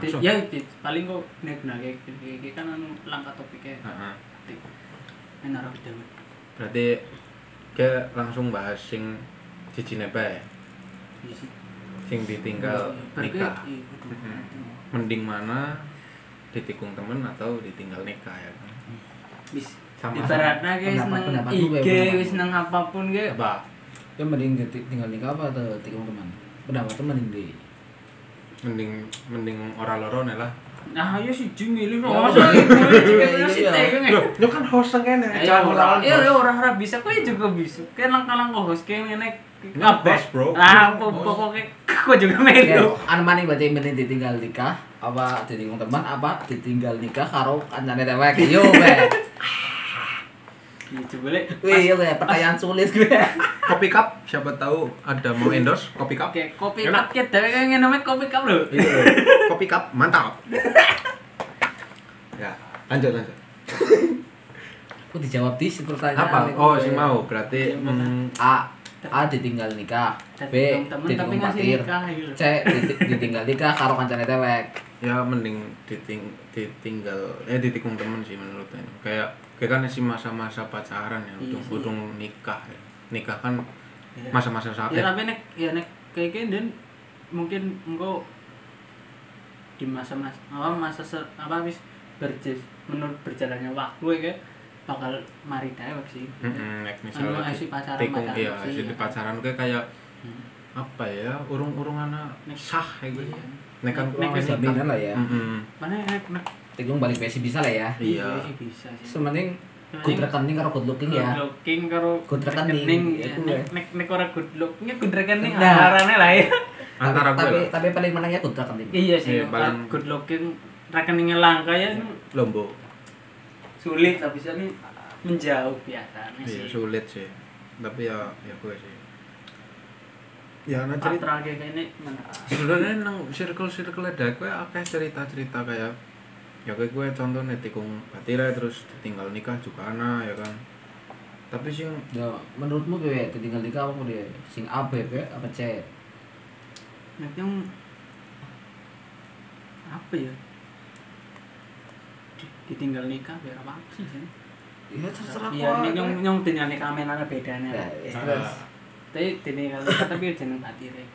S2: Di-
S1: langsung
S2: Ya di- paling kok nek nake iki kan anu langkah topiknya.
S1: Heeh.
S2: Enak ora dewe.
S1: berarti kayak langsung bahas sing cici nepe
S2: Iya sih.
S1: sing ditinggal
S2: Berarti-
S1: nikah
S2: iya, kudu.
S1: Mm-mm. mending mana ditikung temen atau ditinggal nikah ya kan
S2: Wis.
S1: Sama-sama.
S2: Ibaratnya guys
S3: Pendapat-
S2: nang
S3: pendapat gue,
S2: IG
S3: pendapat
S2: wis
S3: gue.
S2: nang apapun ge.
S1: apa
S3: Itu Ya, mending ditik- tinggal nikah apa atau tikung teman? Pendapatnya mending di.
S1: mending mending ora loro nih lah
S2: Nah, ayo si Jim milih
S3: Ya,
S2: no. Masa iki
S3: iya,
S2: si
S3: iya.
S2: Tae nge.
S1: Loh, kan host kan
S2: Iya, orang iya orang bisa kowe juga bisa. Kan langkah-langkah host kayak ngene
S1: Nggak host, bro.
S2: Ah, po- pokoknya kowe juga
S3: Ya,
S2: melu.
S3: anu maning berarti mending ditinggal nikah apa ditikung teman apa ditinggal nikah karo kancane dewek. Yo, be.
S2: Iya, coba lek.
S3: Wih, yo, be. Pertanyaan sulit gue.
S1: kopi cup siapa tahu ada mau endorse kopi cup
S2: Oke, kopi
S1: Enak.
S2: cup kita kan yang namanya kopi cup loh.
S1: Iya, loh. kopi cup mantap ya lanjut lanjut
S3: Aku dijawab di pertanyaan.
S1: apa
S3: itu,
S1: oh
S3: be.
S1: sing
S2: ya.
S1: mau berarti
S2: Iya,
S1: mm,
S3: A. A ditinggal nikah. B.
S2: Tapi temen tapi
S3: Ditikung
S2: ngasih
S3: patir.
S2: nikah gitu.
S3: C. ditik- Ditinggal nikah karo kancane dewek.
S1: ya mending diting ditinggal eh ditikung temen sih menurutnya kayak kayak kan si masa-masa pacaran ya
S2: Iya
S1: ujung
S2: sih.
S1: ujung nikah ya. nikah kan masa-masa
S2: Ya
S1: sakit
S2: tapi nek ya nek kayak gini dan mungkin engkau di masa masa apa masa ser, apa wis berje menurut berjalannya waktu ya kayak bakal mari dewek sih.
S1: Mm-mm, nek misalnya
S2: Anu, eh, si pacaran
S1: tikung
S2: pacaran
S1: iya
S2: sih,
S1: si
S2: ya.
S1: pacaran kayak kayak
S2: Hmm.
S1: apa ya urung-urung anak
S2: Nek- iya.
S1: sah kayak gitu nek kan
S2: Nek-
S1: kuwi nikah.
S2: nek-
S1: Hmm.
S3: Jaminan lah ya.
S1: Mm-mm.
S2: Mana nek nek
S3: Tikung balik besi bisa lah ya.
S1: iya
S2: sih bisa sih.
S3: Sementing
S2: Sementing-
S3: good rekening karo good looking ya.
S2: Good looking karo
S3: Good rekening,
S2: rekening, ya.
S3: itu
S2: Nek
S3: ya.
S2: nek nek ora good looknya good rekening
S3: Nah.
S2: harapannya lah ya.
S1: antara
S3: tapi,
S1: gue lah
S3: tapi paling menangnya good rekening.
S2: Iya sih,
S1: Iya, paling-
S2: good looking rekeningnya langka ya.
S1: lombo
S2: sulit tapi ini menjauh
S6: Iya,
S2: biasanya sih
S6: sulit sih. Tapi ya ya gue sih. Ya nah cerita
S2: patra kayak ini mana
S6: sebenarnya nang circle-circle ada gue akeh cerita-cerita kayak ya kayak gue contohnya tikung batira terus ditinggal nikah juga anak ya kan. Tapi sih
S3: Ya, menurutmu gue ditinggal nikah apa dia? Sing A B B apa C?
S2: Nanti yang apa ya? Di- Ditinggal nikah biar apa sih? Sen?
S3: Ya terserah
S2: Iya,
S3: kok.
S2: nih, nyong nyong tinggal nikah main ada bedanya.
S3: Ya, ya, terus.
S6: Ah.
S2: Tapi ditinggal nikah tapi ya jeneng hati rek.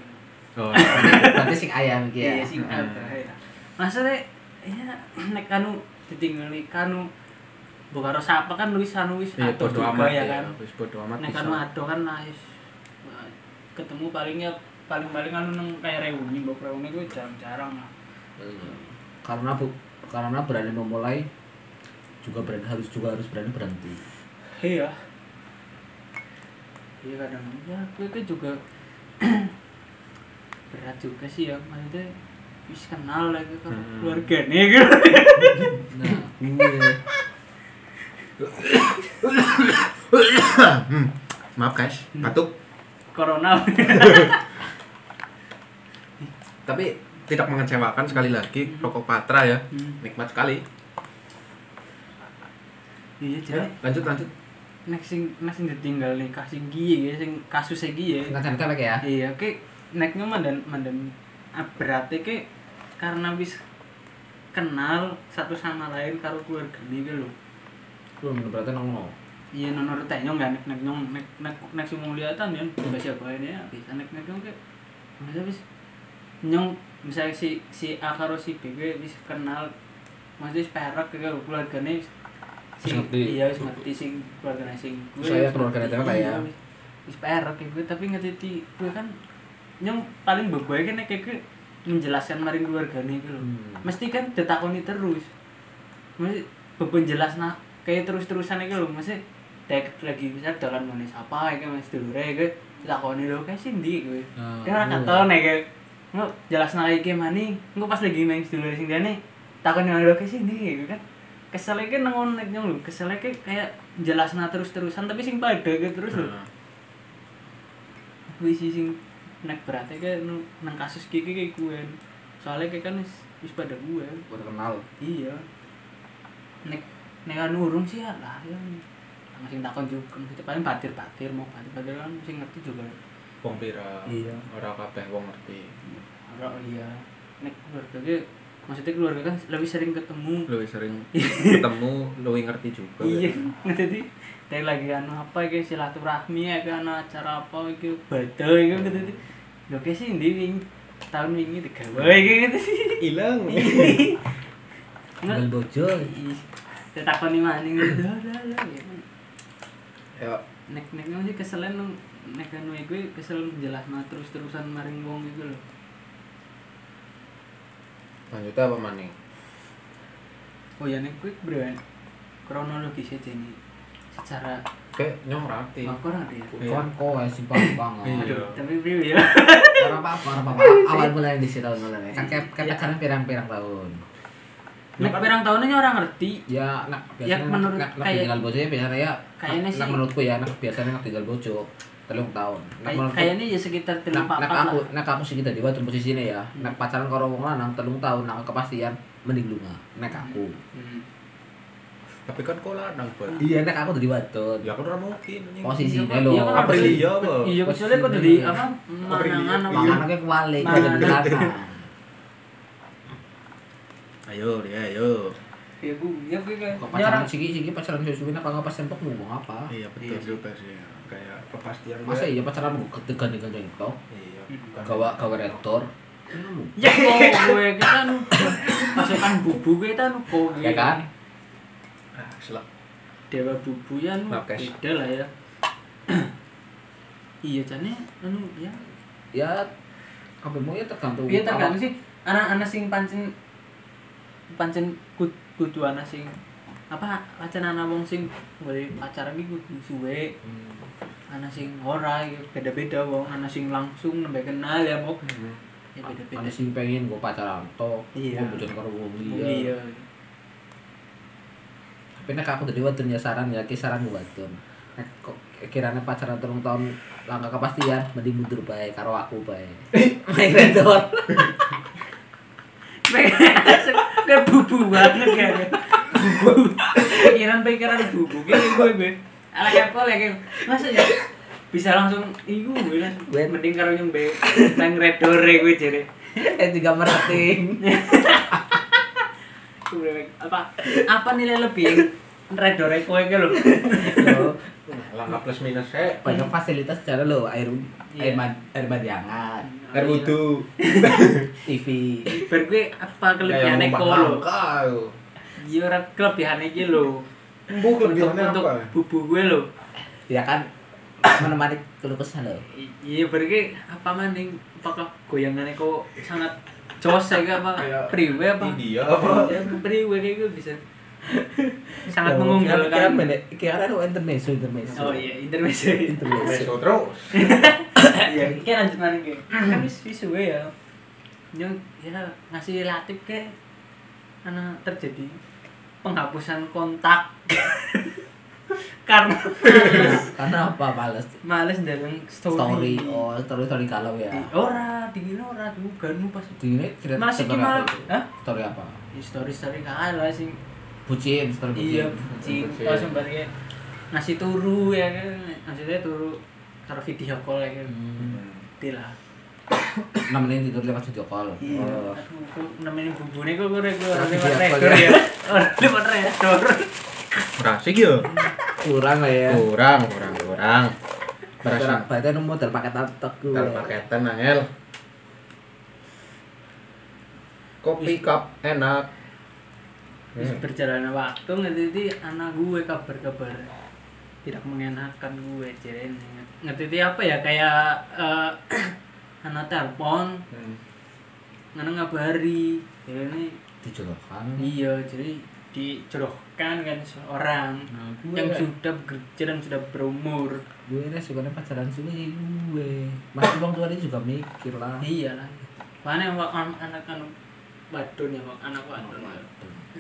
S6: oh,
S3: Berarti sing ayam iki ya.
S2: Iya sih, terakhir. Maksudnya ya nek anu ditinggal nikah anu bukan harus apa kan Luis anu wis
S6: iya
S2: atuh
S6: bodo
S2: juga
S6: amat
S2: ya
S6: ya.
S2: kan.
S6: Wis bodo amat
S2: Nek
S6: bisa.
S2: anu ado kan nice. Ketemu palingnya paling-paling anu nang kayak reuni, mbok reuni gue jarang-jarang lah.
S3: Karena bu, karena berani memulai juga berani harus juga harus berani berhenti.
S2: Iya. Iya kadang ya gue tuh juga berat juga sih ya maksudnya wis kenal lagi kan
S6: Hmm.
S2: keluarga nih gitu.
S3: Nah, gue
S6: Hmm, Maaf guys,
S2: Hmm.
S6: batuk.
S2: Corona.
S6: Tapi tidak mengecewakan sekali lagi rokok Patra ya.
S2: Hmm.
S6: Nikmat sekali.
S2: iya
S6: Ya,
S2: jadi
S6: lanjut lanjut.
S2: next sing next sing ditinggal nih kasih gigi ya sing kasus gigi ya.
S3: kan kan ya.
S2: Iya ke neknya mandan mandan ah, berarti ke karena wis kenal satu sama lain karo keluarga nih gitu loh.
S3: Lu berarti nongol.
S2: Iya nonor tanya nggak nek nek nyong nek nek nek sumung liatan ya
S3: Hmm.
S2: nggak siapa ini ya bisa nek nek nyong kayak masa bis nyong misalnya si si A karo si B gue bis kenal maksudnya perak ke keluarga nih si
S3: Wis ngerti.
S2: iya wis ngerti sing keluarga sing gue
S3: Saya
S2: wis
S3: keluargane
S2: ngerti.
S3: dhewe lah ya.
S2: Iya, wis- wis perak ke gue tapi nggak titi gue kan nyong paling begoy kan nek gue menjelaskan maring keluarga nih gitu loh
S3: Hmm.
S2: mesti kan ditakoni terus mesti beban jelas nah kayak terus terusan itu loh mesti dek lagi bisa dalam manis apa kayak mas dulu kayak ditakoni lo kayak sindi gue
S3: Nah,
S2: dia orang
S3: iya.
S2: kata nih kayak nggak jelas nah kayak mana nggak pas lagi main dulu sing dia nih takoni lo kayak sindi gue kan keselnya kan nengon nek nyong lo keselnya kayak kayak jelas nah terus terusan tapi sing pada kayak terus lo
S1: Ah.
S2: gue sih sing nek beratnya kayak nu- nang kasus kiki kayak gue soalnya kayak kan wis wis pada gue
S3: Baru kenal.
S2: iya nek nek anu urung sih ya lah ya Nang sing takon juga Maksudnya paling batir batir mau batir batir kan sing ngerti juga
S6: Wong pira.
S2: Iya.
S6: Ora kabeh wong ngerti.
S2: ora iya nek keluarga ge maksudnya keluarga kan lebih sering ketemu
S6: Lu sering ketemu, lu ngerti juga.
S2: iya
S6: kan?
S2: ngerti tapi lagi anu apa ya silaturahmi ya kan anu acara apa gitu badai gitu ngerti lo kayak sih ini wing tahun ini digawe gitu sih
S6: hilang
S2: nggak
S3: Tinggal Iya. bojo.
S2: ditakoni maning gitu dah dah dah gitu.
S6: ya
S2: nek nek mesti keselen nung- nek anu gue kesel jelasna terus terusan maring wong gitu loh
S6: lanjut apa maning
S2: oh ya nek gue berewan kronologisnya jadi secara
S6: kayak nyong rati
S3: Ah.
S2: makro nanti ya
S6: Iya.
S3: Kon kowe sih pang
S6: Iya.
S2: tapi priwe ya
S3: Karena apa apa apa awal mulai di situ mulai. Kan kan kan pirang-pirang tahun.
S2: nek pirang tahunnya orang ngerti
S3: Ya, nak
S2: Ya,
S3: biasanya
S2: menurut
S3: nak, nak
S2: kayak-
S3: tinggal bojo ya biasanya ya.
S2: Kayaknya
S3: nak,
S2: sih-
S3: Nak menurutku ya, nak biasanya nak tinggal bojo telung tahun. Nak
S2: kayak
S3: menurutku-
S2: kayaknya ya sekitar
S3: nak,
S2: tiga
S3: nak
S2: empat
S3: aku,
S2: lah
S3: nak aku sih kita diwat posisi ini ya.
S2: Hmm.
S3: Nak pacaran karo wong lanang telung tahun nak kepastian mending lunga. Nak aku.
S2: Hmm.
S6: tapi kan kok lanang Bal.
S3: Iya, Oh, nak aku dari wadon.
S6: ya kan ora mungkin
S2: Iya,
S3: Posisi ini
S2: kan-
S3: lho.
S2: iya kan
S6: April
S2: harusnya-
S6: iya, Bo.
S2: iya kecuali kok jadi apa manangan apa
S6: Iya.
S3: Makan aku kuali,
S2: Mangan.
S3: kuali belaka.
S6: Ya. ayo ya ayo
S2: ya gue ya gue kayak
S3: Kok
S2: ya orang
S3: pacaran sih sih pacaran susu apa nggak pas tempok mau ngomong apa?
S6: iya betul juga sih kayak kepastian
S3: Ah. Masa
S6: gue.
S3: iya pacaran gue ketegan dengan itu?
S6: iya
S3: Gawa gawa rektor.
S2: ya gue kita nu pasukan bubu kita nu kok iya.
S3: Ya kan?
S6: ah selak
S2: dewa bubu ya nu
S6: Maaf, guys.
S2: beda lah ya iya jane anu ya
S3: Ya kabeh mau ya tergantung.
S2: iya tergantung sih anak-anak sing pancen pancen kut, kudu anak sing apa pancen anak wong sing boleh pacaran iki kudu suwe
S6: Hmm.
S2: anak sing ora ya beda-beda wong anak sing langsung nembe kenal ya kok ya
S3: Ada
S2: beda-beda
S3: sih pengen gue pacaran toh,
S2: Iya.
S3: gue bocorin karo wong
S2: iya
S3: liya. Pene aku dadi wadon ya saran ya, ki saran wadon. Nek kok kirane pacaran telung tahun langkah kepastian mending mundur bae karo aku bae. Main vendor.
S2: Kayak bubu banget kan. Bubu. Pikiran-pikiran bubu gini gue gue. Ala apa lagi? Masa ya bisa langsung iku gue lah.
S3: Gue-
S2: mending karo nyembe nang redore gue jere.
S3: Eh juga merating.
S2: Gue bilang, Apa apa nilai lebih redore e kowe ke lho.
S3: Yo,
S1: Langkah plus minus
S6: eh.
S1: saya.
S3: banyak fasilitas cara lo air air
S2: Iya.
S3: man- air mandi hangat,
S2: Air
S3: wudhu, TV.
S2: Bar gue apa kelebihane
S1: Kayak
S2: kowe
S1: ngomong
S2: lho.
S1: langkah, yo.
S2: Ya ora kelebihane iki lho.
S1: Embuh
S2: Untuk
S1: kelebihannya
S2: untuk
S1: apa?
S2: bubu gue lho.
S3: Ya kan menemani keluh kesah lo.
S2: Iya berarti apa maning apakah goyangannya kok sangat jose ke apa
S1: Kayak
S2: priwe apa
S1: India apa?
S2: Ya, priwe kayak gue bisa sangat
S3: Yo, kira-
S2: mengunggulkan
S3: kira- Kira ada intermezzo intermezzo.
S2: oh iya intermezzo
S3: Intermezzo.
S1: Meso terus.
S2: iya kayak lanjut maning gue kan wis wis gue ya yang ya ngasih latif ke karena terjadi penghapusan kontak karena males
S3: Karena apa males
S2: males dalam story,
S3: story oh story story kalau ya.
S2: Di- ora dingin ora diganu pas
S3: Di Ini cerita
S2: Masih
S3: story
S2: gimana?
S3: apa?
S2: Hah?
S3: Story apa?
S2: Ya, story story kalah lah sing
S3: Bucin, story bucin.
S2: iya kucing kalau sembarnya ngasih turu ya kan maksudnya turu taruh video call ya kan
S3: Hmm.
S2: Ngerti lah
S3: Namanya tidur lewat video call.
S2: Iya.
S3: Oh.
S2: Aduh, kok namanya bumbunya kok gue gue orang
S3: Taruh
S2: lewat
S3: video call
S2: redor
S3: ya. Hmm.
S2: ya orang lewat redor
S6: Rasik yo.
S3: Kurang lah ya.
S6: Kurang, kurang, kurang.
S3: Kurang.
S6: Rasik.
S3: Berarti ada model paket antek gue.
S6: Tar paketan angel. Kopi cup enak.
S2: terus berjalannya waktu ngerti anak gue kabar kabar tidak mengenakan gue jadi ngerti apa ya kayak eh, anak telepon
S6: Hmm.
S2: anak ngabari jadi ini
S3: Dijodohkan.
S2: Iya, jadi dijodohkan kan seorang
S3: Nah,
S6: Iya.
S2: yang
S3: gue-
S2: sudah bekerja dan sudah berumur.
S3: Gue ini sukanya pacaran sih gue. Masih orang tua dia juga mikir
S6: Ah.
S3: lah.
S2: Iyalah. Mana yang anak anak wadon ya, wak- anak wadon.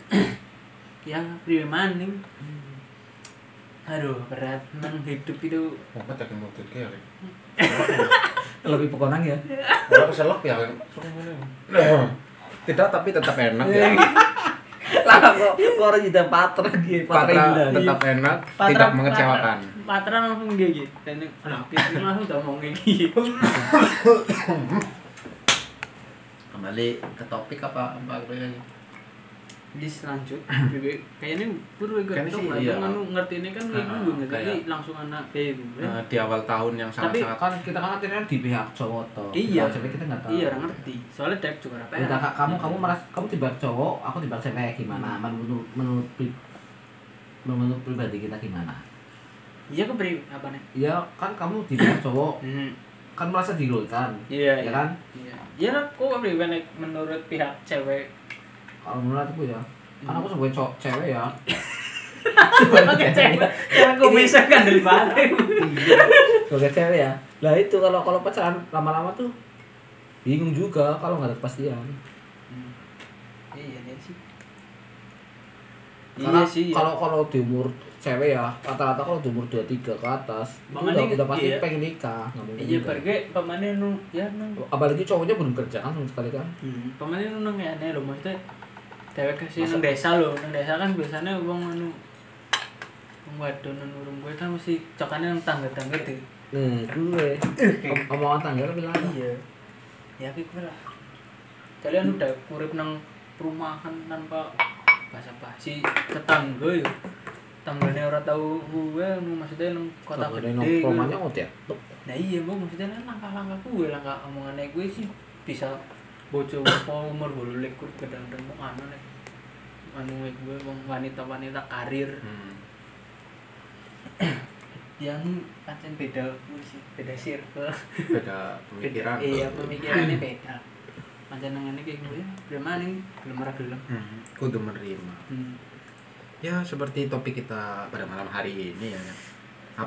S2: Ya, priwe maning. Aduh, berat nang hidup itu.
S6: Apa tadi mau tuh ya?
S3: Lebih pekonang ya.
S6: Orang keselak ya. Tidak tapi tetap enak ya.
S3: Lah kok kok orang tidak patra
S2: ya?
S3: gitu.
S6: Patra iya.
S3: Patra
S6: tetap enak, tidak mengecewakan.
S2: Patra, patra langsung gigi. Dan anak itu langsung udah mau gigi.
S4: Kembali
S2: Iya.
S4: ke topik apa apa gitu kan?
S3: ya?
S2: Dis lanjut. Kayaknya buru
S6: Kayaknya
S2: gue gantung
S6: sih,
S2: lah.
S6: iya.
S2: Cuman lu ngerti ini kan kayak
S6: Ah,
S2: gue ngerti
S6: kayak-
S2: Jadi langsung anak kayak gue.
S6: Nah, di awal tahun yang
S2: Tapi-
S6: sangat-sangat
S3: kan kita kan akhirnya di pihak cowok toh.
S2: Iya.
S3: Tapi kita nggak tahu.
S2: Iya, orang ngerti. Soalnya Dek juga apa ya?
S3: Minta kak, kamu kamu merasa kamu tiba cowok, aku tiba cewek gimana? Menurut menurut pri- menurut pribadi kita gimana?
S2: Iya, aku beri apa nih?
S3: Ya kan kamu tiba cowok,
S2: Hmm.
S3: kan merasa dirulkan,
S2: Iya,
S3: ya
S2: iya.
S3: kan?
S2: Iya. Iya lah, aku beri banyak menurut pihak cewek.
S3: Kalau menurut aku ya, kan aku sebagai cowok cewek ya.
S2: Pakai cewek. Ya aku bisa kan dari mana?
S3: sebagai cewek ya. Lah itu kalau kalau pacaran lama-lama tuh bingung juga kalau nggak ada kepastian.
S2: Hmm. Iya, iya sih.
S3: Karena
S2: Iya sih. iya.
S3: kalau kalau di umur cewek ya rata-rata kalau di umur 23 ke atas itu
S2: Makanya
S3: udah, udah pasti
S2: iya.
S3: pengen nikah nggak mungkin
S2: Iya,
S3: enggak.
S2: pergi pemanen nu ya nang.
S3: apalagi cowoknya belum kerja kan sama sekali kan
S2: Hmm. Pemanen nu nang ya aneh lho maksudnya. Cewek kasih nang desa lho, nang desa kan biasanya wong anu wong wadon nang urung gue kan mesti cokane nang tangga-tangga deh.
S3: Nah, gue Om- omongan tangga lebih lama.
S2: iya ya kayak gue lah kalian udah kurip nang perumahan tanpa bahasa basi tetangga ya tetangganya orang tahu gue nu maksudnya nang kota
S3: Kalau ada
S2: gede
S3: nongkrong
S2: gitu.
S3: aja ngotot ya. Tuh.
S2: nah iya bu maksudnya kan langkah-langkah gue langkah omongannya gue sih bisa bocor apa umur bolu lekut gedang-gedang mau anu nek anu gue wong wanita-wanita karir
S6: Hmm.
S2: yang pancen beda gue sih beda circle
S6: beda pemikiran.
S2: iya pemikirannya beda panjenengannya kayak gitu ya. gue belum maning belum merah belum
S6: Hmm, Kudu menerima.
S2: Hmm.
S6: Ya seperti topik kita pada malam hari ini ya kan.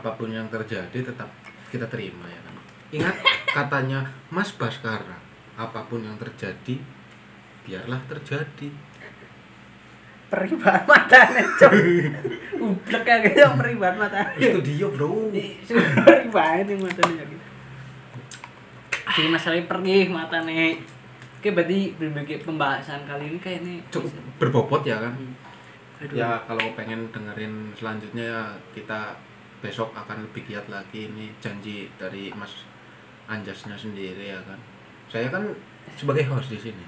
S6: Apapun yang terjadi tetap kita terima ya kan. Ingat katanya Mas Baskara, apapun yang terjadi biarlah terjadi.
S7: Peribaan matanya, cok. Ublek kayak gitu, peribaan matanya.
S8: Studio bro.
S7: Suri banget yang matanya gitu.
S2: Jadi masalahnya pergi mata nih. Oke, berarti berbagai pembahasan kali ini kayak ini
S1: cukup berbobot ya kan
S2: Aduh.
S1: ya kalau pengen dengerin selanjutnya ya kita besok akan lebih giat lagi ini janji dari Mas Anjasnya sendiri ya kan saya kan sebagai host di sini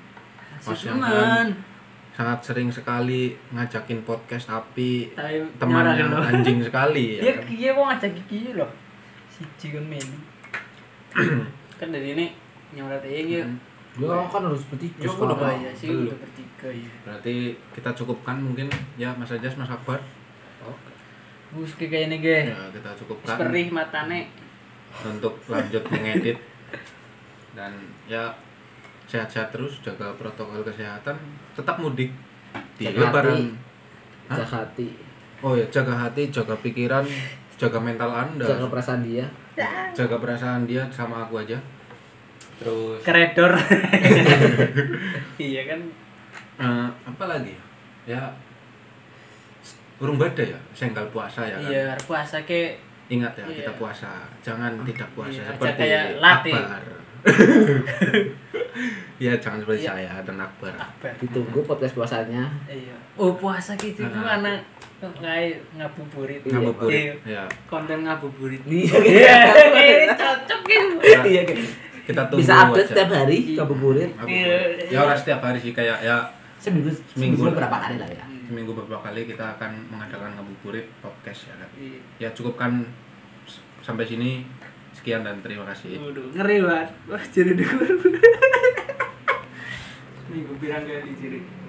S1: host yang
S2: Cuman,
S1: sangat sering sekali ngajakin podcast tapi
S2: tapi
S1: teman
S2: nyerah
S1: yang
S2: dulu.
S1: anjing
S7: Iya,
S1: sekali ya kan?
S7: iya mau ngajak gigi loh. Si Jigon men.
S2: kan dari ini nyamrat aja gitu.
S1: Hmm.
S3: Yo kan harus bertiga.
S1: Yo, kan
S2: Oh
S1: apa?
S2: iya sih
S1: Belum.
S2: udah bertiga ya.
S1: berarti kita cukupkan mungkin ya Mas Anjas Mas Akbar
S2: Bus kayak kayak ini ge.
S1: ya kita cukupkan
S2: Perih matane.
S1: untuk lanjut mengedit dan ya sehat-sehat terus jaga protokol kesehatan tetap mudik di
S3: Jaga
S1: lebaran Hah?
S3: Jaga hati,
S1: oh ya jaga hati jaga pikiran jaga mental anda
S3: jaga perasaan dia.
S1: jaga perasaan dia sama aku aja terus
S2: Kredor. iya kan.
S1: eh, apa lagi ya? ya urung badai ya senggal puasa ya kan
S2: Iya, puasa ke
S1: ingat ya kita
S2: Iya.
S1: puasa jangan tidak puasa
S2: Iya,
S1: seperti
S2: kayak latih.
S1: akbar ya jangan seperti
S2: Iya.
S1: saya dan akbar
S2: Akbar.
S3: Ditunggu podcast puasanya.
S2: Iya. Oh, puasa gitu itu
S1: Nah.
S2: anak kayak ngabuburit. Iya.
S1: ngabuburit ya
S2: Konten ngabuburit.
S3: Iya.
S2: Eh, cocok gitu.
S1: Ya,
S3: Iya, kan?
S1: kita tunggu
S3: Bisa update
S1: aja.
S3: setiap hari
S2: Iya.
S3: ngabuburit.
S1: Ngabuburit. ya orang setiap hari sih kayak ya
S3: Seminggu
S1: Seminggu.
S3: seminggu berapa kali lah
S2: Hmm.
S3: ya.
S1: seminggu beberapa kali kita akan mengadakan ngabuburit podcast ya kan
S2: Iya.
S1: ya cukupkan s- sampai sini sekian dan terima kasih
S2: Waduh, ngeri banget. Wah, jadi denger. Minggu pirang kayak di ciri.